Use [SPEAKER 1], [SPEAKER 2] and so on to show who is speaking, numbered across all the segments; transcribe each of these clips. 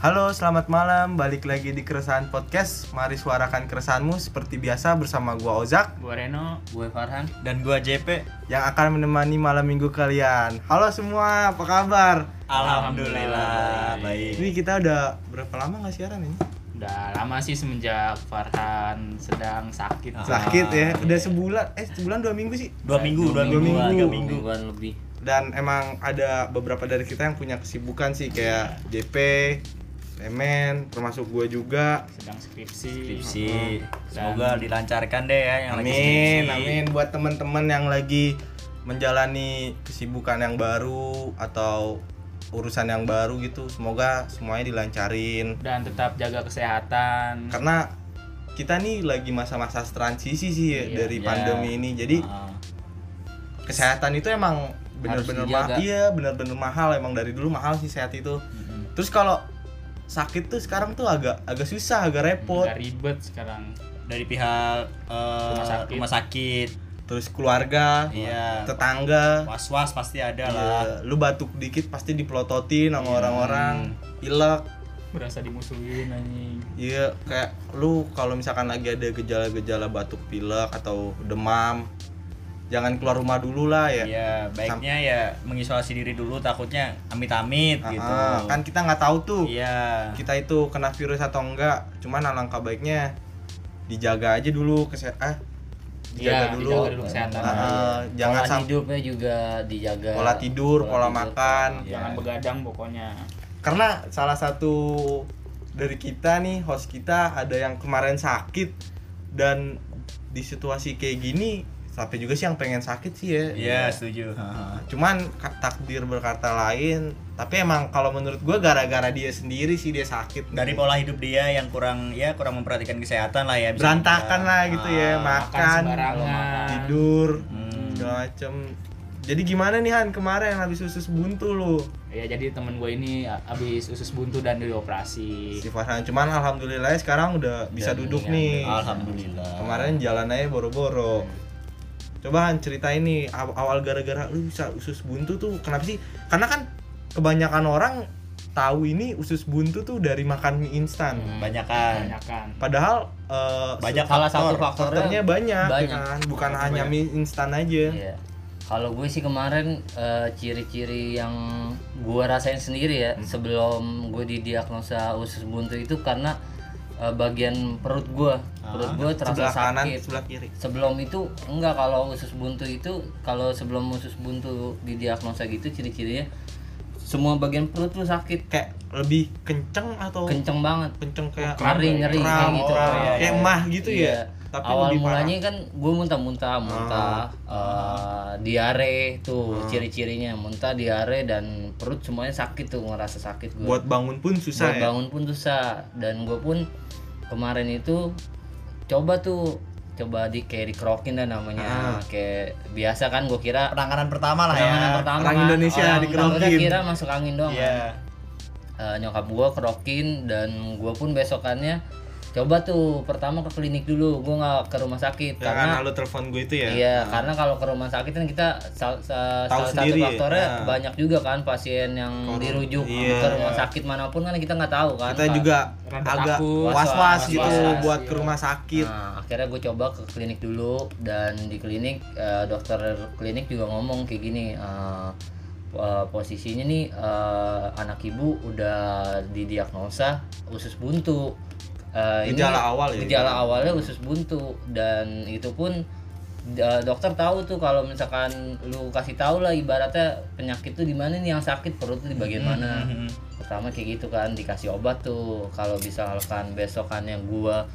[SPEAKER 1] Halo, selamat malam. Balik lagi di Keresahan Podcast. Mari suarakan keresahanmu seperti biasa bersama gua Ozak
[SPEAKER 2] Gue Reno, gue Farhan.
[SPEAKER 3] dan gua JP
[SPEAKER 1] yang akan menemani malam minggu kalian. Halo semua, apa kabar?
[SPEAKER 3] alhamdulillah baik
[SPEAKER 1] Ini kita udah berapa lama nggak siaran ini?
[SPEAKER 2] Udah lama sih semenjak Farhan sedang sakit.
[SPEAKER 3] Ah.
[SPEAKER 1] Sakit ya, udah sebulan, eh sebulan dua minggu sih.
[SPEAKER 3] dua minggu dua,
[SPEAKER 1] Dua
[SPEAKER 3] minggu,
[SPEAKER 1] minggu.
[SPEAKER 3] tiga minggu
[SPEAKER 4] mingguan lebih
[SPEAKER 1] Dan emang ada beberapa dari kita yang punya kesibukan sih kayak JP, Emen, termasuk gua juga.
[SPEAKER 2] Sedang skripsi.
[SPEAKER 3] skripsi
[SPEAKER 2] Dan-
[SPEAKER 3] semoga dilancarkan deh ya yang lagi
[SPEAKER 1] Amin,
[SPEAKER 3] skripsi
[SPEAKER 1] amin buat teman-teman yang lagi menjalani kesibukan yang baru atau urusan yang baru gitu. Semoga semuanya dilancarin.
[SPEAKER 2] Dan tetap jaga kesehatan.
[SPEAKER 1] Karena kita nih lagi masa-masa transisi sih ya,
[SPEAKER 2] Iya,
[SPEAKER 1] dari
[SPEAKER 4] iya.
[SPEAKER 1] pandemi ini. Jadi
[SPEAKER 3] Ah,
[SPEAKER 1] kesehatan itu emang bener-bener
[SPEAKER 4] Harus dijaga.
[SPEAKER 1] mahal. Iya, bener-bener mahal emang dari dulu mahal sih sehat itu.
[SPEAKER 3] mm-hmm.
[SPEAKER 2] Mm-mm.
[SPEAKER 1] Terus kalau sakit tuh sekarang tuh agak agak susah, agak repot.
[SPEAKER 2] Udah ribet sekarang.
[SPEAKER 3] dari pihak eh,
[SPEAKER 2] Rumah sakit.
[SPEAKER 3] rumah sakit
[SPEAKER 1] Terus keluarga,
[SPEAKER 3] iya
[SPEAKER 1] tetangga,
[SPEAKER 3] was was pasti ada lah
[SPEAKER 1] Iya, lu batuk dikit pasti dipelototin sama orang-orang ilek
[SPEAKER 2] Berasa dimusuhin anjing.
[SPEAKER 1] iya kayak lu kalau misalkan lagi ada gejala-gejala batuk pilek atau demam jangan keluar rumah dulu lah ya
[SPEAKER 3] Iya, baiknya ya mengisolasi diri dulu takutnya amit-amit
[SPEAKER 1] Ah,
[SPEAKER 3] gitu.
[SPEAKER 1] ah, kan kita nggak tahu tuh
[SPEAKER 3] Iya.
[SPEAKER 1] kita itu kena virus atau enggak cuman alangkah baiknya dijaga aja dulu kesehatan ah, dijaga
[SPEAKER 2] Iya,
[SPEAKER 1] dulu,
[SPEAKER 2] dijaga dulu kesehatan.
[SPEAKER 1] Ah, ah, jangan
[SPEAKER 4] pola
[SPEAKER 1] sampai
[SPEAKER 4] hidupnya juga dijaga
[SPEAKER 1] pola tidur, pola
[SPEAKER 4] tidur,
[SPEAKER 1] makan.
[SPEAKER 4] pola-
[SPEAKER 2] Jangan
[SPEAKER 3] Iya.
[SPEAKER 2] begadang pokoknya.
[SPEAKER 1] karena salah satu dari kita nih host kita ada yang kemarin sakit dan di situasi kayak gini sampai juga sih yang pengen sakit sih ya
[SPEAKER 3] Iya, setuju. Ah,
[SPEAKER 1] cuman ka- takdir berkata lain tapi emang kalau menurut gue gara-gara dia sendiri sih dia sakit
[SPEAKER 3] Dari pola hidup dia yang kurang ya kurang memperhatikan kesehatan lah ya. bisa
[SPEAKER 1] berantakan
[SPEAKER 3] dibilang.
[SPEAKER 1] lah gitu ya
[SPEAKER 3] Ah,
[SPEAKER 1] makan
[SPEAKER 2] sembarangan.
[SPEAKER 1] tidur
[SPEAKER 3] Hmm.
[SPEAKER 1] segala macem jadi gimana nih Han kemarin habis usus buntu lu
[SPEAKER 2] Ya jadi temen gue ini habis usus buntu dan dioperasi.
[SPEAKER 3] Iya.
[SPEAKER 1] si Farhan cuman alhamdulillah ya sekarang udah bisa
[SPEAKER 4] Udah
[SPEAKER 1] duduk nih
[SPEAKER 4] mendingan.
[SPEAKER 3] Alhamdulillah.
[SPEAKER 1] kemarin jalan aja boro-boro coba Han, cerita ini aw- awal gara-gara lu bisa usus buntu tuh kenapa sih karena kan kebanyakan orang tahu ini usus buntu tuh dari makan mie instan
[SPEAKER 3] banyakan.
[SPEAKER 2] Kebanyakan.
[SPEAKER 1] padahal eh,
[SPEAKER 3] Banyak
[SPEAKER 4] Hmm. salah
[SPEAKER 3] faktor.
[SPEAKER 4] satu faktornya,
[SPEAKER 1] faktornya banyak, ya
[SPEAKER 4] banyak.
[SPEAKER 1] kan bukan hanya
[SPEAKER 3] Faktornya
[SPEAKER 1] mie instan aja
[SPEAKER 4] Iya. kalau gue sih kemarin eh, ciri-ciri yang gue rasain sendiri ya
[SPEAKER 1] Hmm.
[SPEAKER 4] sebelum gue didiagnosa usus buntu itu karena eh, bagian perut gue perut gue
[SPEAKER 1] Ah,
[SPEAKER 4] terasa
[SPEAKER 1] sebelah kanan
[SPEAKER 4] sakit
[SPEAKER 1] sebelah kiri
[SPEAKER 4] sebelum itu enggak kalau usus buntu itu kalau sebelum usus buntu didiagnosa gitu ciri-cirinya semua bagian perut lu sakit
[SPEAKER 1] kayak lebih kenceng atau
[SPEAKER 4] kenceng banget
[SPEAKER 1] kenceng kayak
[SPEAKER 4] Ngeri, ngeri,
[SPEAKER 1] kram,
[SPEAKER 4] kayak gitu.
[SPEAKER 1] kram,
[SPEAKER 4] Oh, Iya,
[SPEAKER 1] kayak
[SPEAKER 4] iya.
[SPEAKER 1] mah gitu
[SPEAKER 4] Iya.
[SPEAKER 1] ya tapi
[SPEAKER 4] awal
[SPEAKER 1] lebih parah Ah.
[SPEAKER 4] mulanya kan gue muntah-muntah, muntah, eh, diare
[SPEAKER 1] Ah.
[SPEAKER 4] tuh ciri-cirinya, muntah, diare dan perut semuanya sakit tuh ngerasa sakit gue.
[SPEAKER 1] buat bangun pun susah
[SPEAKER 4] Buat
[SPEAKER 1] ya
[SPEAKER 4] bangun pun susah dan gue pun kemarin itu coba tuh coba di kayak dikerokin dan
[SPEAKER 1] Ah.
[SPEAKER 4] namanya kayak biasa kan gue kira
[SPEAKER 3] Penanganan pertama lah ya.
[SPEAKER 4] Penanganan pertama
[SPEAKER 1] orang
[SPEAKER 4] kan,
[SPEAKER 1] Indonesia
[SPEAKER 4] orang
[SPEAKER 1] dikerokin.
[SPEAKER 4] takutnya kira masuk angin doang
[SPEAKER 3] Iya.
[SPEAKER 4] kan. Eh, nyokap gua kerokin dan gua pun besokannya coba tuh pertama ke klinik dulu gua nggak ke rumah sakit
[SPEAKER 1] Ya,
[SPEAKER 4] karena
[SPEAKER 1] karena lu telepon gue itu ya
[SPEAKER 4] Iya, karena kalau ke rumah sakit kan kita sal- sa-
[SPEAKER 1] Tahu
[SPEAKER 4] salah satu
[SPEAKER 1] sendiri,
[SPEAKER 4] faktornya
[SPEAKER 1] nah.
[SPEAKER 4] banyak juga kan pasien yang dirujuk
[SPEAKER 1] iya.
[SPEAKER 4] ke rumah sakit manapun kan kita nggak tahu kan.
[SPEAKER 1] kita
[SPEAKER 4] Pak.
[SPEAKER 1] juga
[SPEAKER 2] Rada
[SPEAKER 1] agak
[SPEAKER 2] takut,
[SPEAKER 1] was-was
[SPEAKER 4] was-was,
[SPEAKER 1] gitu
[SPEAKER 2] was-was,
[SPEAKER 1] buat
[SPEAKER 2] iya.
[SPEAKER 1] ke rumah sakit.
[SPEAKER 4] Nah, akhirnya gue coba ke klinik dulu dan di klinik eh, dokter klinik juga ngomong kayak gini eh, eh, posisinya nih eh, anak ibu udah didiagnosa usus buntu. Eh, ini
[SPEAKER 1] Gejala awal ya?
[SPEAKER 4] Gejala awalnya usus buntu dan itu pun eh, dokter tahu tuh kalau misalkan lu kasih tahu lah ibaratnya penyakit tuh di mana nih yang sakit perut tuh di bagian
[SPEAKER 1] Hmm,
[SPEAKER 4] mana
[SPEAKER 3] Mhm.
[SPEAKER 4] pertama kayak gitu kan dikasih obat tuh kalau misalkan besokannya gua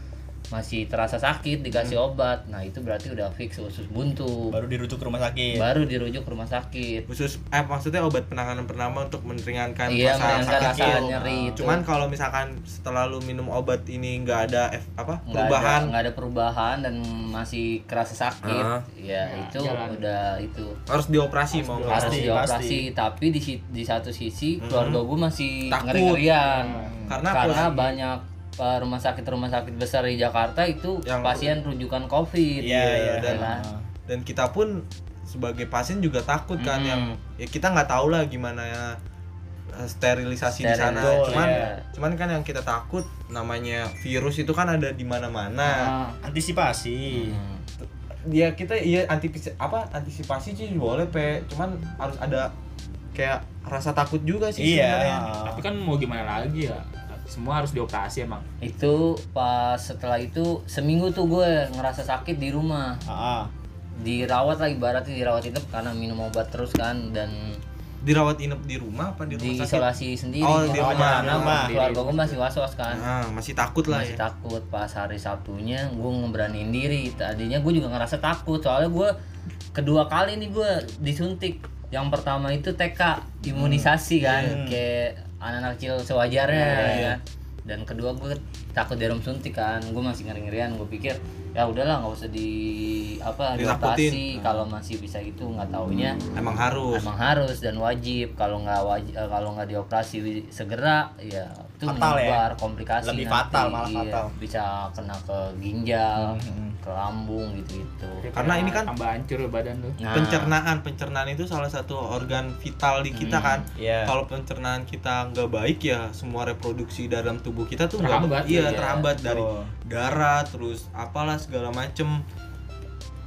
[SPEAKER 4] masih terasa sakit dikasih
[SPEAKER 1] Hmm.
[SPEAKER 4] obat nah itu berarti udah fix usus buntu
[SPEAKER 3] Baru dirujuk ke rumah
[SPEAKER 1] Iya.
[SPEAKER 3] sakit.
[SPEAKER 4] baru dirujuk ke rumah sakit
[SPEAKER 1] Khusus eh maksudnya obat penanganan pertama untuk meringankan
[SPEAKER 4] iya
[SPEAKER 1] rasa
[SPEAKER 4] meringankan
[SPEAKER 1] Kan sakit
[SPEAKER 4] rasa
[SPEAKER 1] lu.
[SPEAKER 4] nyeri itu
[SPEAKER 1] Cuman kalau misalkan setelah lu minum obat ini nggak ada ef- apa
[SPEAKER 4] Nggak ada-
[SPEAKER 1] perubahan
[SPEAKER 4] nggak ada perubahan dan masih kerasa sakit
[SPEAKER 1] Ah.
[SPEAKER 4] ya
[SPEAKER 2] Ya,
[SPEAKER 4] itu
[SPEAKER 2] jalan.
[SPEAKER 4] udah itu
[SPEAKER 1] harus dioperasi mau nggak
[SPEAKER 4] harus
[SPEAKER 1] mau.
[SPEAKER 3] pasti.
[SPEAKER 4] dioperasi tapi di si- di satu sisi keluarga gue
[SPEAKER 1] Hmm.
[SPEAKER 4] masih
[SPEAKER 1] Takut.
[SPEAKER 4] ngeri ngerian
[SPEAKER 1] Karena
[SPEAKER 4] karena,
[SPEAKER 1] posisi-
[SPEAKER 4] banyak uh, rumah sakit rumah sakit besar di Jakarta itu
[SPEAKER 1] Yang-
[SPEAKER 4] pasien rujukan covid
[SPEAKER 3] Iya, iya.
[SPEAKER 4] ya
[SPEAKER 1] dan-
[SPEAKER 4] kan?
[SPEAKER 1] Dan kita pun sebagai pasien juga takut kan yang ya kita nggak tahu lah gimana ya, eh, sterilisasi di sana.
[SPEAKER 4] Steril,
[SPEAKER 1] Cuman
[SPEAKER 2] iya.
[SPEAKER 1] cuman kan yang kita takut namanya virus itu kan ada di mana-mana.
[SPEAKER 2] Ah.
[SPEAKER 3] antisipasi
[SPEAKER 4] Hmm.
[SPEAKER 1] Dia kita iya antisipasi apa antisipasi sih boleh pe, cuman harus ada kayak rasa takut juga sih
[SPEAKER 3] iya
[SPEAKER 1] sebenarnya.
[SPEAKER 2] tapi kan mau gimana lagi ya semua harus dioperasi emang
[SPEAKER 4] itu pas setelah itu seminggu tuh gue ngerasa sakit di rumah
[SPEAKER 3] Ah, ah.
[SPEAKER 4] dirawat lagi baratnya dirawat itu karena minum obat terus kan dan
[SPEAKER 1] Dirawat inap di rumah apa di rumah sakit?
[SPEAKER 4] diisolasi sendiri
[SPEAKER 1] Oh,
[SPEAKER 4] kan.
[SPEAKER 1] di
[SPEAKER 3] rumah,
[SPEAKER 4] karena
[SPEAKER 3] di rumah.
[SPEAKER 4] keluarga gue masih was was kan
[SPEAKER 1] Nah, masih takut lah
[SPEAKER 4] masih
[SPEAKER 1] ya.
[SPEAKER 4] takut pas hari Sabtunya gue ngeberaniin diri tadinya gue juga ngerasa takut soalnya gue kedua kali nih gue disuntik yang pertama itu TK imunisasi
[SPEAKER 1] Hmm,
[SPEAKER 4] kan
[SPEAKER 1] iya.
[SPEAKER 4] kayak anak-anak kecil sewajarnya ya kan. dan kedua gue takut jarum suntik kan gue masih ngeri ngerian gue pikir ya udahlah nggak usah di apa
[SPEAKER 1] Ditakutin. Nah.
[SPEAKER 4] diatasi kalau masih bisa gitu nggak taunya
[SPEAKER 1] Emang harus.
[SPEAKER 4] emang harus dan wajib kalau nggak wajib kalau nggak dioperasi wi- segera ya itu
[SPEAKER 3] Fatal ya?
[SPEAKER 4] menebar komplikasi
[SPEAKER 3] Lebih
[SPEAKER 4] nanti. Iya,
[SPEAKER 3] fatal, malah fatal. Mm-hmm.
[SPEAKER 4] bisa kena ke ginjal ke lambung gitu gitu
[SPEAKER 1] Karena ini kan-
[SPEAKER 2] tambah hancur ya badan lu
[SPEAKER 4] Nah.
[SPEAKER 3] Nah.
[SPEAKER 1] pencernaan pencernaan itu salah satu organ vital di kita kan
[SPEAKER 3] Iya.
[SPEAKER 1] kalau pencernaan kita nggak baik ya semua reproduksi dalam tubuh kita tuh nggak-
[SPEAKER 2] Terhambat,
[SPEAKER 1] iya
[SPEAKER 2] iya.
[SPEAKER 1] terhambat dari
[SPEAKER 3] Betul.
[SPEAKER 1] darah terus apalah segala macem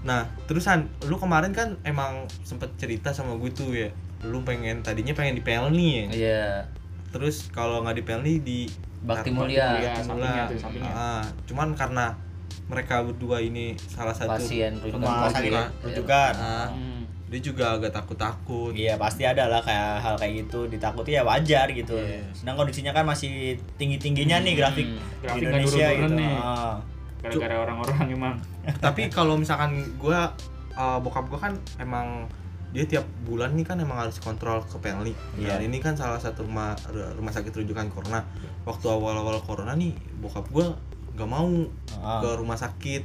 [SPEAKER 1] nah terusan lu kemarin kan emang sempet cerita sama gue tuh ya lu pengen tadinya pengen dipelni ya
[SPEAKER 4] iya
[SPEAKER 1] terus kalau nggak dipelni di
[SPEAKER 3] Nah,
[SPEAKER 4] Bakti
[SPEAKER 1] Bakti
[SPEAKER 2] Mulia,
[SPEAKER 4] Mulia,
[SPEAKER 2] Ya, sampingnya tuh,
[SPEAKER 1] Mulia.
[SPEAKER 2] sampingnya.
[SPEAKER 1] Ah, cuman karena mereka berdua ini salah satu
[SPEAKER 4] pasien Iya.
[SPEAKER 3] rumah
[SPEAKER 4] rujukan
[SPEAKER 3] sakit
[SPEAKER 4] COVID.
[SPEAKER 3] rujukan
[SPEAKER 1] ya. ah,
[SPEAKER 2] Hmm.
[SPEAKER 1] dia juga agak takut-takut
[SPEAKER 3] Iya pasti ada lah kayak hal kayak gitu ditakuti ya wajar gitu.
[SPEAKER 1] Iya.
[SPEAKER 3] Sedang kondisinya kan masih tinggi tingginya nih grafik, di
[SPEAKER 4] Hmm.
[SPEAKER 2] Hmm. Grafik nggak
[SPEAKER 3] Indonesia
[SPEAKER 2] turun-turun
[SPEAKER 3] gitu.
[SPEAKER 2] nih.
[SPEAKER 3] Ah.
[SPEAKER 2] gara-gara orang-orang emang
[SPEAKER 1] tapi kalau misalkan gue bokap gue kan emang dia tiap bulan nih kan emang harus kontrol ke Penli
[SPEAKER 3] Iya. Iya.
[SPEAKER 1] dan ini kan salah satu rumah rumah sakit rujukan corona waktu awal-awal corona nih bokap gue nggak mau
[SPEAKER 3] Ah.
[SPEAKER 1] ke rumah sakit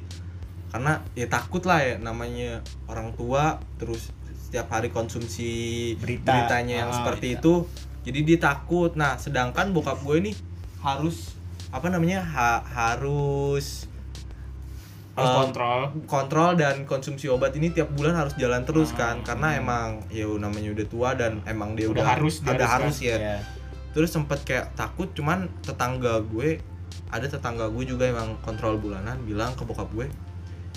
[SPEAKER 1] karena ya takut lah ya namanya orang tua terus setiap hari konsumsi
[SPEAKER 3] Berita.
[SPEAKER 1] beritanya yang
[SPEAKER 3] Ah,
[SPEAKER 1] seperti
[SPEAKER 3] iya.
[SPEAKER 1] itu jadi dia takut nah sedangkan bokap gue ini harus apa namanya ha- harus
[SPEAKER 2] harus
[SPEAKER 1] eh,
[SPEAKER 2] kontrol
[SPEAKER 1] kontrol dan konsumsi obat ini tiap bulan harus jalan terus kan karena emang ya namanya udah tua dan emang dia
[SPEAKER 2] Hmm. Udah
[SPEAKER 1] udah,
[SPEAKER 2] harus, dia
[SPEAKER 1] ada
[SPEAKER 2] harus kan?
[SPEAKER 1] harus ya
[SPEAKER 3] Iya.
[SPEAKER 1] terus sempet kayak takut cuman tetangga gue ada tetangga gue juga emang kontrol bulanan bilang ke bokap gue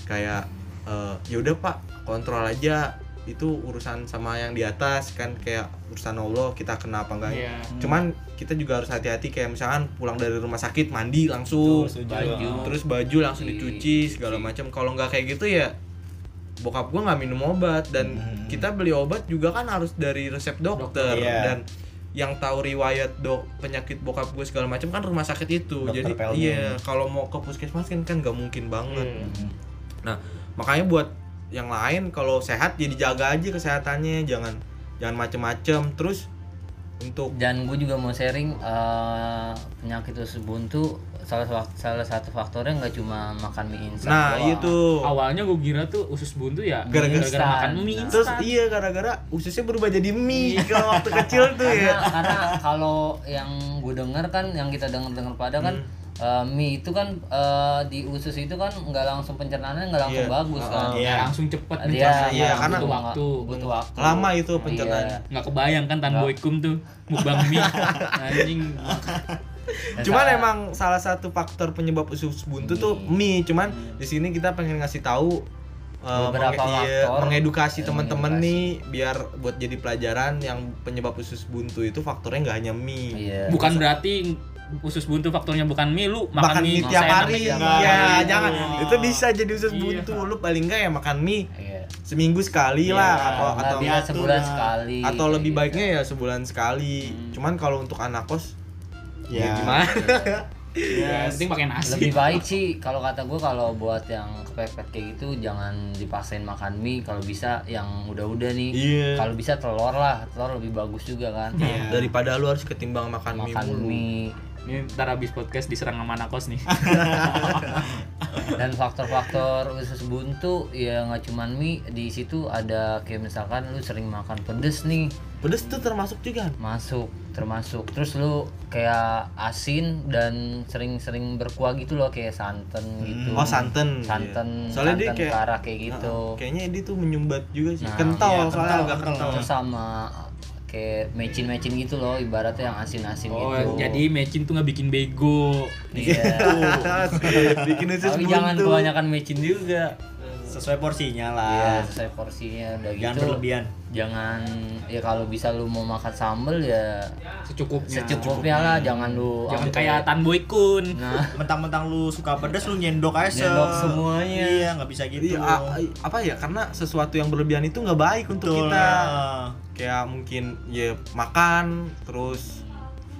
[SPEAKER 1] kayak "Eh, ya udah pak kontrol aja itu urusan sama yang di atas kan kayak urusan Allah kita kena apa enggak
[SPEAKER 2] Iya.
[SPEAKER 1] cuman kita juga harus hati-hati kayak misalkan pulang dari rumah sakit mandi langsung
[SPEAKER 3] Betul, setuju.
[SPEAKER 4] Baju.
[SPEAKER 1] terus baju langsung dicuci
[SPEAKER 4] Dicuci.
[SPEAKER 1] segala macam kalau nggak kayak gitu ya bokap gua nggak minum obat dan
[SPEAKER 3] Hmm.
[SPEAKER 1] kita beli obat juga kan harus dari resep dokter
[SPEAKER 3] Iya.
[SPEAKER 1] dan yang tahu riwayat dok penyakit bokap gue segala macam kan rumah sakit itu
[SPEAKER 3] Dokter
[SPEAKER 1] jadi
[SPEAKER 3] Pelni.
[SPEAKER 1] iya kalau mau ke puskesmas kan kan nggak mungkin banget
[SPEAKER 2] Hmm.
[SPEAKER 1] nah makanya buat yang lain kalau sehat jadi jaga aja kesehatannya jangan jangan macem-macem terus untuk
[SPEAKER 4] dan gue juga mau sharing eh, penyakit usus buntu salah sa- salah satu faktornya nggak cuma makan mie instan
[SPEAKER 1] nah
[SPEAKER 3] iya
[SPEAKER 4] doang.
[SPEAKER 1] itu
[SPEAKER 2] awalnya gue kira tuh usus buntu ya
[SPEAKER 1] Gara-gara
[SPEAKER 2] makan
[SPEAKER 4] instan.
[SPEAKER 2] mie
[SPEAKER 4] Nah.
[SPEAKER 1] terus
[SPEAKER 2] instan
[SPEAKER 1] iya gara-gara ususnya berubah jadi mie kalau waktu kecil tuh ya
[SPEAKER 4] karena karena kalau yang gue dengar kan yang kita dengar dengar pada kan
[SPEAKER 1] Hmm.
[SPEAKER 4] eh, mie itu kan eh, di usus itu kan nggak langsung pencernaannya nggak langsung
[SPEAKER 1] Iya.
[SPEAKER 4] bagus kan
[SPEAKER 3] Iya.
[SPEAKER 2] Ya, langsung cepet
[SPEAKER 4] Dia-
[SPEAKER 2] mencerna.
[SPEAKER 1] iya, karena-
[SPEAKER 2] butuh waktu
[SPEAKER 4] butuh waktu Iya.
[SPEAKER 1] lama itu pencernaannya.
[SPEAKER 2] nggak kebayang kan tan boykum tuh mukbang mie anjing
[SPEAKER 1] Iya.
[SPEAKER 4] Dan
[SPEAKER 1] Cuman
[SPEAKER 4] saat-
[SPEAKER 1] emang salah satu faktor penyebab usus buntu tuh mie. Cuman di sini kita pengen ngasih tahu uh,
[SPEAKER 4] Beberapa
[SPEAKER 1] iya,
[SPEAKER 4] faktor.
[SPEAKER 1] mengedukasi
[SPEAKER 4] Eh,
[SPEAKER 1] teman-teman
[SPEAKER 4] mengedukasi.
[SPEAKER 1] nih biar buat jadi pelajaran yang penyebab usus buntu itu faktornya nggak hanya mie.
[SPEAKER 4] iya
[SPEAKER 2] bukan berarti usus buntu faktornya bukan mie lu
[SPEAKER 1] Makan,
[SPEAKER 2] makan,
[SPEAKER 1] mie
[SPEAKER 2] mie
[SPEAKER 1] tiap
[SPEAKER 2] seenaknya
[SPEAKER 1] hari,
[SPEAKER 2] tiap
[SPEAKER 3] hari.
[SPEAKER 1] ya
[SPEAKER 2] Iya.
[SPEAKER 1] jangan.
[SPEAKER 3] Iya.
[SPEAKER 1] Itu bisa jadi usus
[SPEAKER 2] Iya.
[SPEAKER 1] buntu. Lu paling nggak ya makan mie
[SPEAKER 4] Iya.
[SPEAKER 1] seminggu sekali
[SPEAKER 3] Iya,
[SPEAKER 1] lah atau
[SPEAKER 4] Nggak,
[SPEAKER 1] Oh, atau
[SPEAKER 4] dia
[SPEAKER 3] diatur
[SPEAKER 4] sebulan
[SPEAKER 3] lah.
[SPEAKER 4] sekali
[SPEAKER 1] atau
[SPEAKER 4] kayak
[SPEAKER 1] lebih
[SPEAKER 4] gitu.
[SPEAKER 1] baiknya ya sebulan sekali. Cuman kalau untuk anak kos
[SPEAKER 3] Iya.
[SPEAKER 1] ya gimana?
[SPEAKER 2] Iya, Yang penting pakai nasi
[SPEAKER 4] lebih baik sih kalau kata gue kalau buat yang kepepet kayak gitu jangan dipaksain makan mie kalau bisa yang udah-udah nih
[SPEAKER 1] Iya.
[SPEAKER 4] kalau bisa telur lah telur lebih bagus juga kan
[SPEAKER 1] Daripada lu harus ketimbang makan, mie
[SPEAKER 4] makan
[SPEAKER 1] mulu.
[SPEAKER 4] mie
[SPEAKER 2] ini ntar habis podcast diserang sama nakos nih
[SPEAKER 4] dan faktor-faktor usus buntu ya nggak cuman mie di situ ada kayak misalkan lu sering makan pedes nih
[SPEAKER 1] Pedes tuh termasuk juga. kan?
[SPEAKER 4] masuk termasuk terus lu kayak asin dan sering-sering berkuah gitu loh kayak santan gitu
[SPEAKER 1] Oh santan. Iya.
[SPEAKER 4] santan
[SPEAKER 1] Soalnya dia
[SPEAKER 4] santan
[SPEAKER 1] kayak
[SPEAKER 4] ke arah kayak gitu
[SPEAKER 1] Nah, kayaknya dia tuh menyumbat juga sih.
[SPEAKER 4] Nah,
[SPEAKER 1] kental
[SPEAKER 3] iya,
[SPEAKER 1] soalnya
[SPEAKER 3] kental,
[SPEAKER 1] agak kental.
[SPEAKER 4] terus sama kayak pakai mecin-mecin gitu loh ibaratnya yang asin-asin
[SPEAKER 2] Oh,
[SPEAKER 1] iya.
[SPEAKER 4] gitu.
[SPEAKER 2] jadi mecin tuh nggak bikin bego.
[SPEAKER 4] Iya.
[SPEAKER 1] bikin usus
[SPEAKER 4] Tapi
[SPEAKER 1] buntu
[SPEAKER 4] jangan kebanyakan mecin juga.
[SPEAKER 3] sesuai porsinya
[SPEAKER 4] Iya,
[SPEAKER 1] Ah.
[SPEAKER 3] lah
[SPEAKER 4] sesuai porsinya udah
[SPEAKER 3] jangan
[SPEAKER 4] gitu.
[SPEAKER 3] berlebihan
[SPEAKER 4] Jangan ya kalau bisa lu mau makan sambel ya
[SPEAKER 2] Secukupnya.
[SPEAKER 4] secukupnya lah, jangan lu
[SPEAKER 2] Jangan
[SPEAKER 4] sampai-
[SPEAKER 2] kayak Tan Boy Kun.
[SPEAKER 4] Nah,
[SPEAKER 3] mentang-mentang lu suka pedas lu nyendok aja se-
[SPEAKER 4] Nyendok semuanya.
[SPEAKER 3] iya nggak bisa gitu
[SPEAKER 1] Iya, a- a- apa ya karena sesuatu yang berlebihan itu nggak baik untuk
[SPEAKER 3] Betul,
[SPEAKER 1] kita
[SPEAKER 4] iya.
[SPEAKER 3] ya.
[SPEAKER 1] kayak mungkin ya makan terus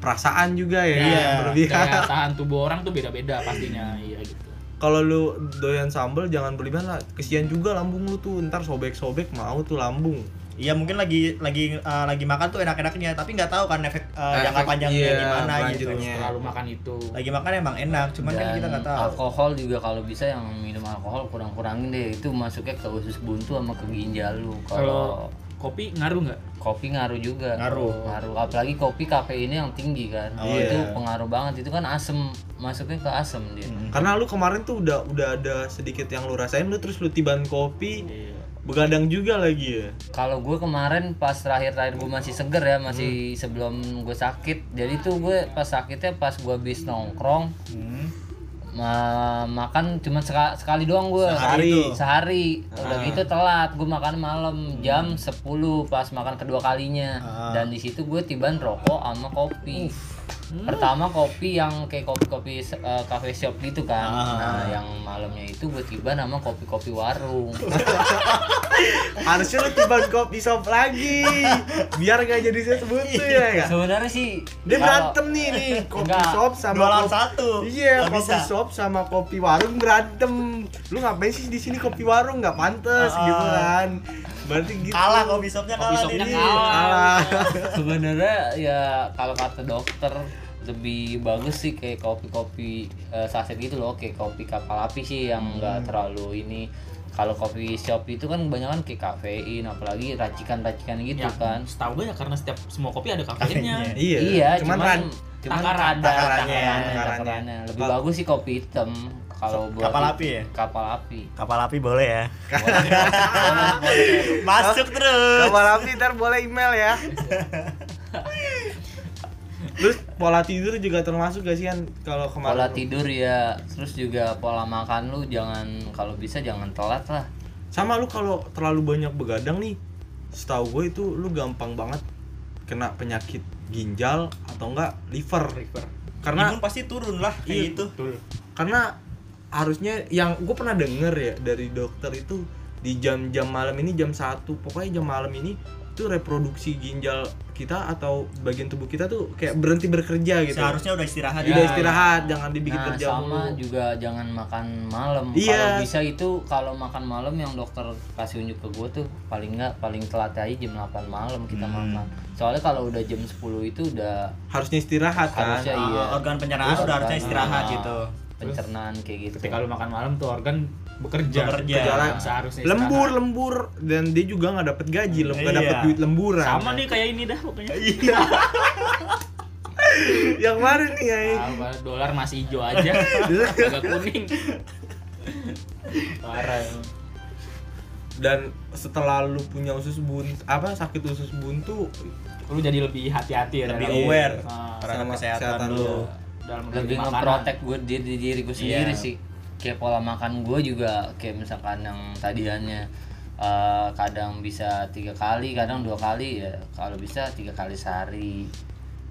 [SPEAKER 1] perasaan juga ya
[SPEAKER 2] Iya,
[SPEAKER 1] yang berlebihan
[SPEAKER 2] Kayak tahan tubuh orang tuh beda-beda pastinya. Iya gitu.
[SPEAKER 1] kalau lu doyan sambel jangan berlebihan lah kesian juga lambung lu tuh ntar sobek-sobek mau tuh lambung
[SPEAKER 3] Iya mungkin lagi lagi eh, lagi makan tuh enak-enaknya tapi nggak tahu kan efek eh,
[SPEAKER 1] Efek,
[SPEAKER 3] jangka panjangnya
[SPEAKER 1] iya,
[SPEAKER 3] gimana gitu.
[SPEAKER 1] lanjutnya.
[SPEAKER 2] Terlalu makan itu.
[SPEAKER 3] Lagi makan emang enak, cuman kan
[SPEAKER 4] dan
[SPEAKER 3] kita nggak tahu.
[SPEAKER 4] alkohol juga kalau bisa yang minum alkohol kurang-kurangin deh itu masuknya ke usus buntu sama ke ginjal lu kalau
[SPEAKER 2] Kalau kopi ngaruh nggak?
[SPEAKER 4] kopi ngaruh juga
[SPEAKER 3] Ngaruh.
[SPEAKER 4] ngaruh apalagi kopi kafeinnya yang tinggi kan
[SPEAKER 3] Oh,
[SPEAKER 4] itu
[SPEAKER 1] iya.
[SPEAKER 4] pengaruh banget itu kan asem masuknya ke asem dia
[SPEAKER 3] Hmm.
[SPEAKER 1] Hmm. karena lu kemarin tuh udah udah ada sedikit yang lu rasain lu terus lu tiban kopi begadang juga lagi ya
[SPEAKER 4] kalau gue kemarin pas terakhir-terakhir gue masih seger ya masih
[SPEAKER 3] Hmm.
[SPEAKER 4] sebelum gue sakit jadi tuh gue pas sakitnya pas gue habis nongkrong
[SPEAKER 3] Hmm.
[SPEAKER 4] ma- makan cuma seka- sekali doang gue
[SPEAKER 3] Sehari Ah. tuh.
[SPEAKER 4] sehari udah gitu telat gue makan malam jam 10 pas makan kedua kalinya
[SPEAKER 3] Ah.
[SPEAKER 4] dan di situ gue tiban rokok sama kopi
[SPEAKER 3] Hmm.
[SPEAKER 4] pertama kopi yang kayak kopi-kopi eh, cafe shop gitu kan
[SPEAKER 3] Ah.
[SPEAKER 4] nah yang malamnya itu gue tiban sama kopi-kopi warung
[SPEAKER 1] harusnya lu tiban kopi shop lagi biar gak jadi saya
[SPEAKER 3] Iya.
[SPEAKER 1] sebutin ya nggak?
[SPEAKER 4] sebenarnya sih
[SPEAKER 1] dia
[SPEAKER 4] kalau-
[SPEAKER 1] berantem nih nih kopi
[SPEAKER 4] Enggak.
[SPEAKER 1] shop sama
[SPEAKER 3] Dua lawan
[SPEAKER 1] kopi-
[SPEAKER 3] satu.
[SPEAKER 1] Iya,
[SPEAKER 3] Nggak
[SPEAKER 1] kopi
[SPEAKER 3] bisa.
[SPEAKER 1] shop sama kopi warung berantem. Lu ngapain sih di sini kopi warung nggak pantas
[SPEAKER 3] Ah.
[SPEAKER 1] gitu kan. Berarti gitu. Iya,
[SPEAKER 3] Kalah kopi shopnya
[SPEAKER 2] Kopi
[SPEAKER 3] kalah.
[SPEAKER 2] shopnya
[SPEAKER 3] Didi.
[SPEAKER 2] kalah.
[SPEAKER 1] Kalah.
[SPEAKER 4] sebenarnya ya kalau kata dokter lebih bagus sih kayak kopi-kopi eh, saset gitu loh kayak kopi kapal api sih yang enggak terlalu ini kalau kopi shop itu kan kebanyakan kayak kafein apalagi racikan-racikan gitu
[SPEAKER 2] Ya,
[SPEAKER 4] kan
[SPEAKER 2] setahu gue ya karena setiap semua kopi ada kafeinnya.
[SPEAKER 3] Kafeinnya.
[SPEAKER 1] Iya.
[SPEAKER 4] iya
[SPEAKER 1] cuman,
[SPEAKER 4] cuman,
[SPEAKER 1] kan
[SPEAKER 4] cuman
[SPEAKER 2] takaran,
[SPEAKER 4] ada
[SPEAKER 1] takarannya,
[SPEAKER 4] takarannya,
[SPEAKER 1] takarannya.
[SPEAKER 4] takarannya. lebih
[SPEAKER 1] Kal-
[SPEAKER 4] bagus sih kopi hitam kalau buat
[SPEAKER 3] Kapal api ya?
[SPEAKER 4] kapal api
[SPEAKER 3] Kapal api boleh ya. Masuk terus.
[SPEAKER 1] kamar api ntar boleh email ya. Terus pola tidur juga termasuk gak sih kan kalau kemarin?
[SPEAKER 4] pola
[SPEAKER 1] lu-
[SPEAKER 4] tidur ya terus juga pola makan lu jangan kalau bisa jangan telat lah
[SPEAKER 1] Sama lu kalau terlalu banyak begadang nih, setahu gue itu lu gampang banget kena penyakit ginjal atau enggak liver. Karena
[SPEAKER 3] Imun pasti turun lah
[SPEAKER 1] Iya.
[SPEAKER 3] kayak gitu.
[SPEAKER 1] karena harusnya yang gue pernah denger ya dari dokter itu di jam-jam malam ini jam satu pokoknya jam malam ini tuh reproduksi ginjal kita atau bagian tubuh kita tuh kayak berhenti bekerja gitu Iya.
[SPEAKER 3] Seharusnya udah istirahat.
[SPEAKER 1] udah
[SPEAKER 3] ya.
[SPEAKER 1] istirahat jangan dibikin
[SPEAKER 4] nah,
[SPEAKER 1] kerja
[SPEAKER 4] sama
[SPEAKER 1] mulu.
[SPEAKER 4] juga jangan makan malam.
[SPEAKER 1] Iya.
[SPEAKER 4] Kalau bisa itu kalau makan malam yang dokter kasih unjuk ke gue tuh paling nggak paling telat aja jam 8 malam kita
[SPEAKER 1] Hmm.
[SPEAKER 4] makan. Soalnya kalau udah jam 10 itu udah
[SPEAKER 1] harusnya istirahat kan
[SPEAKER 4] harusnya
[SPEAKER 3] Ah,
[SPEAKER 4] iya.
[SPEAKER 3] organ pencernaan udah harusnya istirahat
[SPEAKER 4] Nah,
[SPEAKER 3] gitu.
[SPEAKER 4] Pencernaan kayak gitu.
[SPEAKER 2] Ketika lu makan malam tuh organ bekerja.
[SPEAKER 3] Bekerja.
[SPEAKER 1] Jalan.
[SPEAKER 2] Seharusnya
[SPEAKER 1] lembur
[SPEAKER 2] istirahat.
[SPEAKER 1] lembur dan dia juga nggak dapet gaji lem- nggak
[SPEAKER 3] Iya.
[SPEAKER 1] dapet duit lemburan
[SPEAKER 2] Sama nih kayak ini dah pokoknya.
[SPEAKER 1] yang kemarin nih ya
[SPEAKER 2] Apa, dolar masih hijau aja. Agak kuning. Parah. emang.
[SPEAKER 1] dan setelah lu punya usus buntu apa sakit usus buntu
[SPEAKER 2] Lu jadi lebih hati-hati ya
[SPEAKER 3] Lebih
[SPEAKER 2] dalam-
[SPEAKER 3] aware
[SPEAKER 2] Ah,
[SPEAKER 3] terhadap
[SPEAKER 1] Iya. sama
[SPEAKER 3] kesehatan
[SPEAKER 1] kesehatan
[SPEAKER 3] lu.
[SPEAKER 1] lu.
[SPEAKER 2] dalam
[SPEAKER 4] lebih
[SPEAKER 2] menerima makanan.
[SPEAKER 4] ngeprotek gue diri diri gue sendiri
[SPEAKER 3] Iya.
[SPEAKER 4] sih kayak pola makan gue juga kayak misalkan yang tadiannya eh, kadang bisa tiga kali kadang dua kali ya kalau bisa tiga kali sehari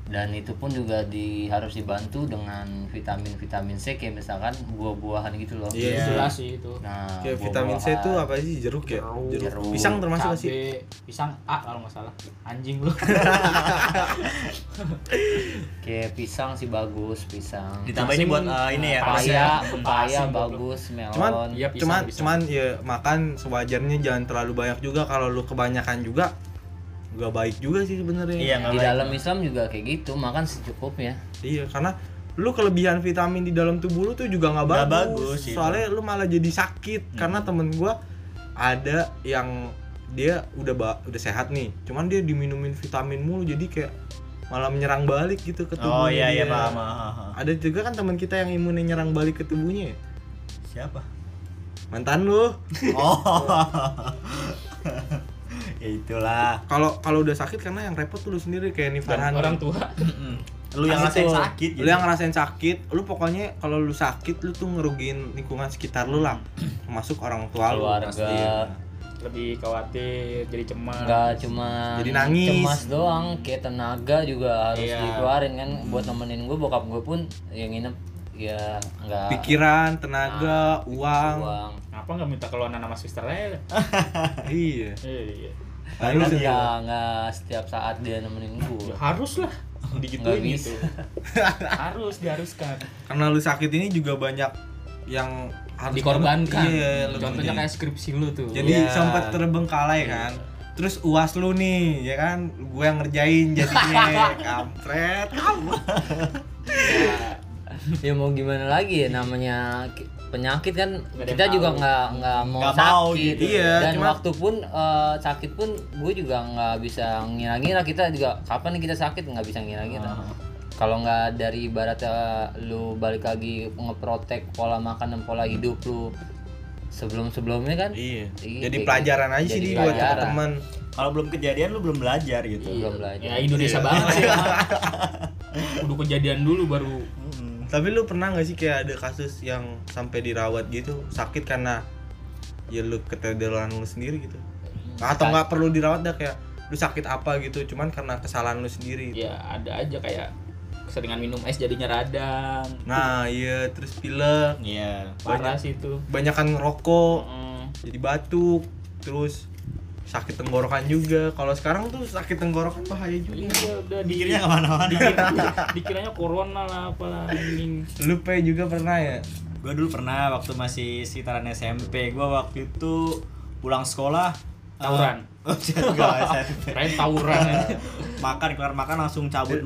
[SPEAKER 4] dan itu pun juga di harus dibantu dengan vitamin vitamin C kayak misalkan buah-buahan gitu loh
[SPEAKER 1] Iya.
[SPEAKER 2] Jelas sih itu.
[SPEAKER 4] nah
[SPEAKER 1] kayak vitamin C itu apa sih jeruk ya
[SPEAKER 2] Jeruk.
[SPEAKER 4] Jeruk.
[SPEAKER 1] pisang termasuk gak
[SPEAKER 2] Cabe,
[SPEAKER 1] sih
[SPEAKER 2] pisang A kalau nggak salah. Anjing lu.
[SPEAKER 4] kayak pisang sih bagus pisang
[SPEAKER 3] Ditambah ini buat eh, ini ya. pasir.
[SPEAKER 4] pepaya pepaya
[SPEAKER 2] Asin, goblok.
[SPEAKER 4] bagus
[SPEAKER 1] Cuman,
[SPEAKER 4] melon
[SPEAKER 2] Iya pisang.
[SPEAKER 1] cuman
[SPEAKER 2] pisang.
[SPEAKER 1] cuman ya makan sewajarnya jangan terlalu banyak juga kalau lu kebanyakan juga nggak baik juga sih sebenarnya
[SPEAKER 3] Iya, nggak
[SPEAKER 4] di
[SPEAKER 3] baik.
[SPEAKER 4] dalam Islam juga kayak gitu makan secukupnya
[SPEAKER 1] Iya, karena lu kelebihan vitamin di dalam tubuh lu tuh juga nggak
[SPEAKER 3] Nggak
[SPEAKER 1] bagus,
[SPEAKER 3] bagus, Hmm. gitu.
[SPEAKER 1] soalnya lu malah jadi sakit karena temen gua ada yang dia udah ba- udah sehat nih cuman dia diminumin vitamin mulu jadi kayak malah menyerang balik gitu ke tubuhnya
[SPEAKER 3] Oh iya iya
[SPEAKER 1] dia.
[SPEAKER 3] paham. ah, ah, ah.
[SPEAKER 1] ada juga kan teman kita yang imunnya nyerang balik ke tubuhnya ya?
[SPEAKER 3] Siapa?
[SPEAKER 1] mantan lu
[SPEAKER 3] Oh. ya itulah
[SPEAKER 1] Kalau kalau udah sakit karena yang repot lu sendiri kayak Niftar
[SPEAKER 2] Dan
[SPEAKER 1] Hani.
[SPEAKER 2] orang tua
[SPEAKER 3] Mm-mm. lu yang
[SPEAKER 1] Nah,
[SPEAKER 3] rasain
[SPEAKER 1] gitu.
[SPEAKER 3] sakit gitu
[SPEAKER 1] Lu yang ngerasain sakit, lu pokoknya kalau lu sakit lu tuh ngerugiin lingkungan sekitar lu lah. Masuk orang tua lu.
[SPEAKER 4] Keluarga.
[SPEAKER 1] pasti.
[SPEAKER 2] lebih khawatir jadi cemas
[SPEAKER 4] nggak cuma
[SPEAKER 1] Jadi nangis.
[SPEAKER 4] cemas doang kayak tenaga juga harus
[SPEAKER 2] Iya.
[SPEAKER 4] dikeluarin kan buat nemenin gue bokap gue pun yang nginep ya nggak
[SPEAKER 1] Pikiran,
[SPEAKER 4] Ah,
[SPEAKER 1] tenaga, uang.
[SPEAKER 4] uang
[SPEAKER 2] Kenapa nggak minta keluaran nama sister Lele?
[SPEAKER 1] Iya. Nah,
[SPEAKER 2] Iya,
[SPEAKER 1] Lalu
[SPEAKER 4] Kan
[SPEAKER 1] sendiri.
[SPEAKER 4] nggak nggak setiap saat dia nemenin gue
[SPEAKER 2] ya harus lah digituin
[SPEAKER 4] Nggak bisa.
[SPEAKER 2] gitu. harus diharuskan.
[SPEAKER 1] karena lu sakit ini juga banyak yang harus
[SPEAKER 2] Dikorbankan.
[SPEAKER 1] Iya, lu-
[SPEAKER 2] Contohnya kayak skripsi lu tuh.
[SPEAKER 1] jadi
[SPEAKER 3] Iya.
[SPEAKER 1] sempat terbengkalai kan
[SPEAKER 4] Iya.
[SPEAKER 1] terus uas lu nih ya kan gue yang ngerjain jadinya kampret
[SPEAKER 4] ya mau gimana lagi ya namanya ki- penyakit kan
[SPEAKER 2] Nggak ada
[SPEAKER 4] kita
[SPEAKER 2] yang
[SPEAKER 4] juga
[SPEAKER 2] tahu.
[SPEAKER 4] nggak nggak mau
[SPEAKER 3] Nggak
[SPEAKER 4] sakit
[SPEAKER 3] mau gitu.
[SPEAKER 1] Iya,
[SPEAKER 4] dan
[SPEAKER 1] cuma-
[SPEAKER 4] waktu pun eh, sakit pun gue juga nggak bisa ngira-ngira kita juga kapan nih kita sakit nggak bisa ngira-ngira
[SPEAKER 2] Ah.
[SPEAKER 4] kalau nggak dari ibaratnya lu balik lagi ngeprotek pola makan dan pola hidup lu sebelum sebelumnya kan
[SPEAKER 1] iya
[SPEAKER 4] Iya,
[SPEAKER 1] jadi
[SPEAKER 4] kayak
[SPEAKER 1] pelajaran aja
[SPEAKER 4] jadi
[SPEAKER 1] sih nih buat
[SPEAKER 4] pelajaran.
[SPEAKER 1] teman
[SPEAKER 3] kalau belum kejadian lu belum belajar gitu
[SPEAKER 4] Belum belajar.
[SPEAKER 2] Ya Indonesia banget sih. emang. Kudu kejadian dulu baru
[SPEAKER 3] Mm-mm.
[SPEAKER 1] tapi lu pernah nggak sih kayak ada kasus yang sampai dirawat gitu sakit karena ya lu keterdelan lu sendiri gitu atau nggak perlu dirawat dah kayak lu sakit apa gitu cuman karena kesalahan lu sendiri gitu.
[SPEAKER 2] ya ada aja kayak keseringan minum es jadinya radang.
[SPEAKER 1] nah iya terus pilek
[SPEAKER 3] iya
[SPEAKER 2] Parah sih itu.
[SPEAKER 1] banyakan ngerokok
[SPEAKER 2] Mm.
[SPEAKER 1] jadi batuk terus sakit tenggorokan juga kalau sekarang tuh sakit tenggorokan bahaya juga
[SPEAKER 2] Iya udah di-
[SPEAKER 3] mikirnya nggak mana-mana
[SPEAKER 2] dikira- dikiranya corona lah apalah anjing.
[SPEAKER 1] lu pe juga pernah ya
[SPEAKER 3] gue dulu pernah waktu masih sekitaran SMP gue waktu itu pulang sekolah eh,
[SPEAKER 2] Tawuran.
[SPEAKER 3] oh, enggak, SMP.
[SPEAKER 2] Kirain tawuran. ya.
[SPEAKER 3] makan kelar makan langsung cabut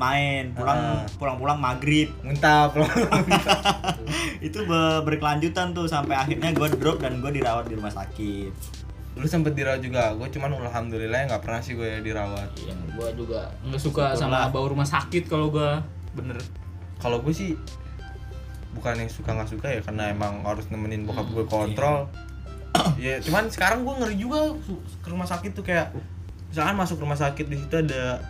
[SPEAKER 1] Ah.
[SPEAKER 3] main pulang pulang pulang maghrib
[SPEAKER 1] muntah loh
[SPEAKER 3] itu be- berkelanjutan tuh sampai akhirnya gue drop dan gue dirawat di rumah sakit
[SPEAKER 1] lu sempet dirawat juga gue cuman alhamdulillah nggak pernah sih gue dirawat
[SPEAKER 2] Iya, gua juga nggak suka
[SPEAKER 3] Syukurlah.
[SPEAKER 2] sama bau rumah sakit kalau gua bener
[SPEAKER 1] kalau gue sih bukan yang suka nggak suka ya karena emang harus nemenin bokap
[SPEAKER 2] Hmm,
[SPEAKER 1] gue
[SPEAKER 2] iya.
[SPEAKER 1] kontrol ya cuman sekarang gue ngeri juga su- ke rumah sakit tuh kayak misalkan masuk rumah sakit di situ ada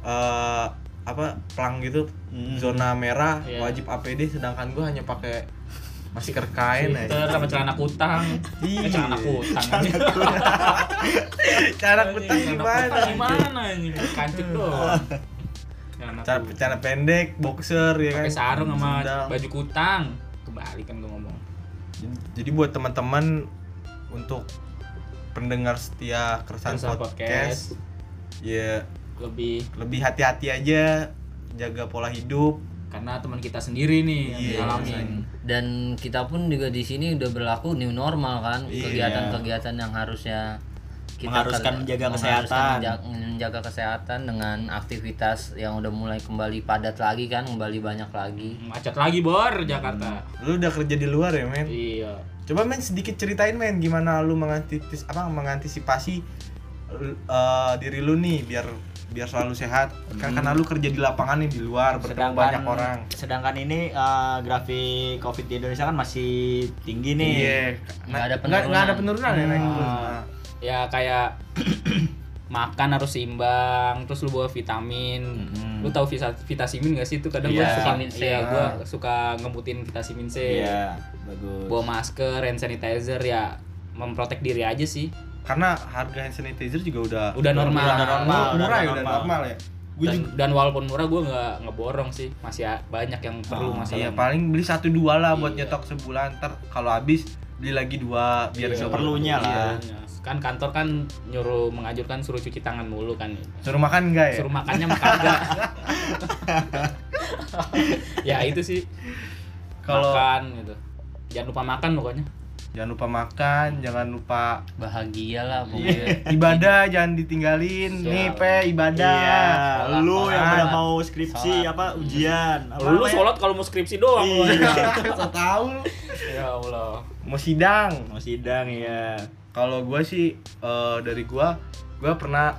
[SPEAKER 1] eh, apa pelang gitu
[SPEAKER 3] Hmm.
[SPEAKER 1] zona merah
[SPEAKER 2] Iya.
[SPEAKER 1] wajib APD sedangkan gue hanya pakai masker kain aja
[SPEAKER 2] Filter sama celana kutang
[SPEAKER 1] Iya.
[SPEAKER 2] Eh, celana kutang
[SPEAKER 1] cara kutang
[SPEAKER 2] Iya. gimana?
[SPEAKER 1] gimana
[SPEAKER 2] Gimana ini? Kancet doang Celana
[SPEAKER 1] cara
[SPEAKER 2] kutang.
[SPEAKER 1] cara pendek boxer ya kan
[SPEAKER 2] Pakai sarung sama
[SPEAKER 1] Sendal.
[SPEAKER 2] baju kutang Kembali kan gua ngomong
[SPEAKER 1] jadi buat teman-teman untuk pendengar setia keresahan
[SPEAKER 2] Keresahan
[SPEAKER 1] podcast,
[SPEAKER 2] Podcast.
[SPEAKER 1] ya
[SPEAKER 2] Lebih
[SPEAKER 1] lebih hati-hati aja jaga pola hidup
[SPEAKER 2] karena teman kita sendiri nih yang
[SPEAKER 1] Iya,
[SPEAKER 2] ngalamin
[SPEAKER 4] dan kita pun juga di sini udah berlaku new normal kan
[SPEAKER 1] Iya.
[SPEAKER 4] kegiatan-kegiatan yang harusnya kita
[SPEAKER 3] Mengharuskan
[SPEAKER 4] kerja-
[SPEAKER 3] menjaga
[SPEAKER 4] mengharuskan
[SPEAKER 3] kesehatan.
[SPEAKER 4] menja- menjaga kesehatan dengan aktivitas yang udah mulai kembali padat lagi kan kembali banyak lagi
[SPEAKER 2] macet lagi bor Jakarta
[SPEAKER 1] lu udah kerja di luar ya men
[SPEAKER 2] iya
[SPEAKER 1] coba men sedikit ceritain men gimana lu mengantitis apa mengantisipasi l- eh, diri lu nih biar biar selalu sehat kan karena lu kerja di lapangan nih di luar bertemu
[SPEAKER 3] sedangkan
[SPEAKER 1] banyak orang
[SPEAKER 3] sedangkan ini eh, grafik covid di Indonesia kan masih tinggi nih
[SPEAKER 1] Iya.
[SPEAKER 4] Nggak ada
[SPEAKER 1] nggak nggak ada penurunan ya Neng?
[SPEAKER 3] Ah.
[SPEAKER 2] ya kayak makan harus seimbang terus lu bawa vitamin
[SPEAKER 3] Mm-mm.
[SPEAKER 2] lu tahu vita vitasimin gak sih itu kadang
[SPEAKER 3] Hmm. Iya.
[SPEAKER 2] gua suka
[SPEAKER 4] Vitamin C.
[SPEAKER 2] iya, gua suka ngemutin vitamin C
[SPEAKER 3] iya bagus
[SPEAKER 2] bawa masker hand sanitizer ya memprotek diri aja sih
[SPEAKER 1] karena harga hand sanitizer juga udah
[SPEAKER 2] Udah normal.
[SPEAKER 1] udah normal
[SPEAKER 3] Udah
[SPEAKER 1] murah ya udah
[SPEAKER 3] normal.
[SPEAKER 1] normal ya gue
[SPEAKER 2] dan,
[SPEAKER 1] juga
[SPEAKER 2] dan walaupun murah gua nggak ngeborong sih masih a- banyak yang perlu
[SPEAKER 3] Ah,
[SPEAKER 2] masalah
[SPEAKER 1] iya paling beli satu dua lah buat
[SPEAKER 2] Iya.
[SPEAKER 1] nyetok sebulan ntar kalau habis beli lagi dua biar
[SPEAKER 2] Iya.
[SPEAKER 1] nggak
[SPEAKER 3] Perlunya lah.
[SPEAKER 2] Iya. kan kantor kan nyuruh menganjurkan suruh cuci tangan mulu kan
[SPEAKER 1] suruh makan enggak ya
[SPEAKER 2] suruh makannya makan enggak ya itu sih
[SPEAKER 1] Kalau-
[SPEAKER 2] makan gitu jangan lupa makan pokoknya
[SPEAKER 1] jangan lupa makan jangan lupa
[SPEAKER 4] bahagia lah pokoknya
[SPEAKER 1] ibadah jangan ditinggalin
[SPEAKER 2] Siap.
[SPEAKER 1] nih pe ibadah
[SPEAKER 3] Iya,
[SPEAKER 4] Sholat,
[SPEAKER 3] lu yang
[SPEAKER 1] sholat.
[SPEAKER 3] udah mau skripsi
[SPEAKER 4] Sholat.
[SPEAKER 3] apa ujian apa
[SPEAKER 2] lu
[SPEAKER 3] namanya?
[SPEAKER 2] sholat kalau mau skripsi doang lu.
[SPEAKER 3] Iya.
[SPEAKER 1] so tau lu.
[SPEAKER 2] ya allah
[SPEAKER 1] mau sidang
[SPEAKER 3] mau sidang ya
[SPEAKER 1] kalau gua sih eh, dari gua gua pernah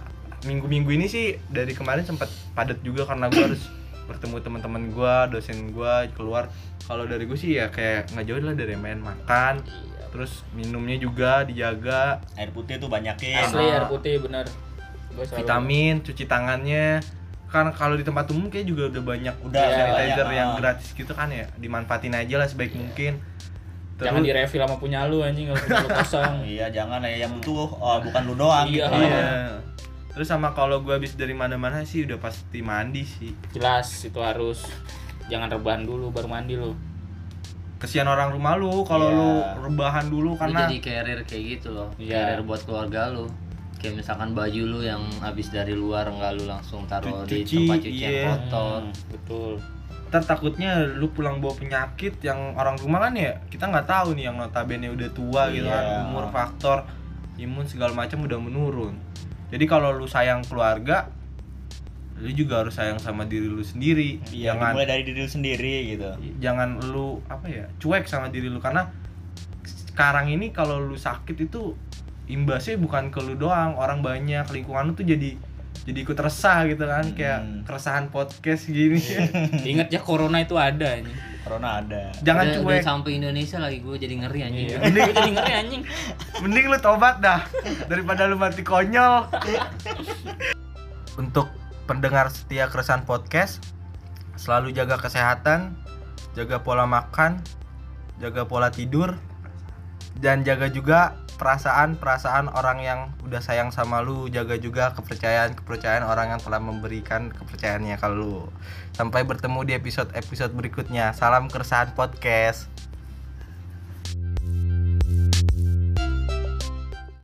[SPEAKER 1] minggu-minggu ini sih dari kemarin sempat padat juga karena gua harus bertemu teman-teman gua dosen gua keluar kalau dari gua sih ya kayak nggak jauh lah dari main makan
[SPEAKER 2] Iya,
[SPEAKER 1] terus minumnya juga dijaga
[SPEAKER 3] air putih tuh banyakin
[SPEAKER 2] Asli air putih bener. Gua selalu-
[SPEAKER 1] vitamin cuci tangannya kan kalau di tempat umum kayak juga udah banyak
[SPEAKER 3] Udah,
[SPEAKER 1] hand sanitizer
[SPEAKER 3] banyak,
[SPEAKER 1] yang
[SPEAKER 3] ah.
[SPEAKER 1] gratis gitu kan ya dimanfaatin aja lah sebaik mungkin terus
[SPEAKER 2] Jangan direfill sama punya lu anjing kalau punya lu kosong.
[SPEAKER 3] iya jangan ya yang butuh oh, bukan lu doang
[SPEAKER 2] Iya.
[SPEAKER 3] gitu.
[SPEAKER 1] iya terus sama kalau gue habis dari mana-mana sih udah pasti mandi sih
[SPEAKER 2] Jelas itu harus jangan rebahan dulu baru mandi lu.
[SPEAKER 1] kesian orang rumah lu kalau
[SPEAKER 3] Iya.
[SPEAKER 1] lu rebahan dulu
[SPEAKER 4] Lu
[SPEAKER 1] karena
[SPEAKER 4] jadi carrier kayak gitu loh
[SPEAKER 2] Iya.
[SPEAKER 4] carrier buat keluarga lu kayak misalkan baju lu yang habis dari luar nggak lu langsung taruh
[SPEAKER 1] Cu-
[SPEAKER 4] di
[SPEAKER 1] cuci,
[SPEAKER 4] tempat cuci yang
[SPEAKER 1] iya.
[SPEAKER 4] kotor
[SPEAKER 2] Hmm, betul.
[SPEAKER 1] ntar takutnya lu pulang bawa penyakit yang orang rumah kan ya kita nggak tahu nih yang notabene udah tua gitu kan
[SPEAKER 3] Iya.
[SPEAKER 1] umur faktor imun segala macam udah menurun jadi kalau lu sayang keluarga lu juga harus sayang sama diri lu sendiri
[SPEAKER 3] Iya,
[SPEAKER 1] jangan
[SPEAKER 3] mulai dari diri lu sendiri gitu.
[SPEAKER 1] jangan lu apa ya cuek sama diri lu karena sekarang ini kalau lu sakit itu imbasnya bukan ke lu doang orang banyak lingkungan lu tuh jadi jadi ikut resah gitu kan kayak
[SPEAKER 3] Hmm.
[SPEAKER 1] keresahan podcast gini
[SPEAKER 4] Iya.
[SPEAKER 2] Ingat ya corona itu ada anjing.
[SPEAKER 3] Corona ada.
[SPEAKER 1] jangan
[SPEAKER 4] udah,
[SPEAKER 1] cuek
[SPEAKER 4] udah sampai Indonesia lagi gue jadi ngeri anjing
[SPEAKER 2] Iya. Gua jadi ngeri anjing.
[SPEAKER 1] Mending lu tobat dah daripada lu mati konyol. Untuk pendengar setia keresahan podcast, selalu jaga kesehatan, jaga pola makan, jaga pola tidur, dan jaga juga perasaan-perasaan orang yang udah sayang sama lu, jaga juga kepercayaan-kepercayaan orang yang telah memberikan kepercayaannya ke lu. Sampai bertemu di episode-episode berikutnya. Salam keresahan podcast.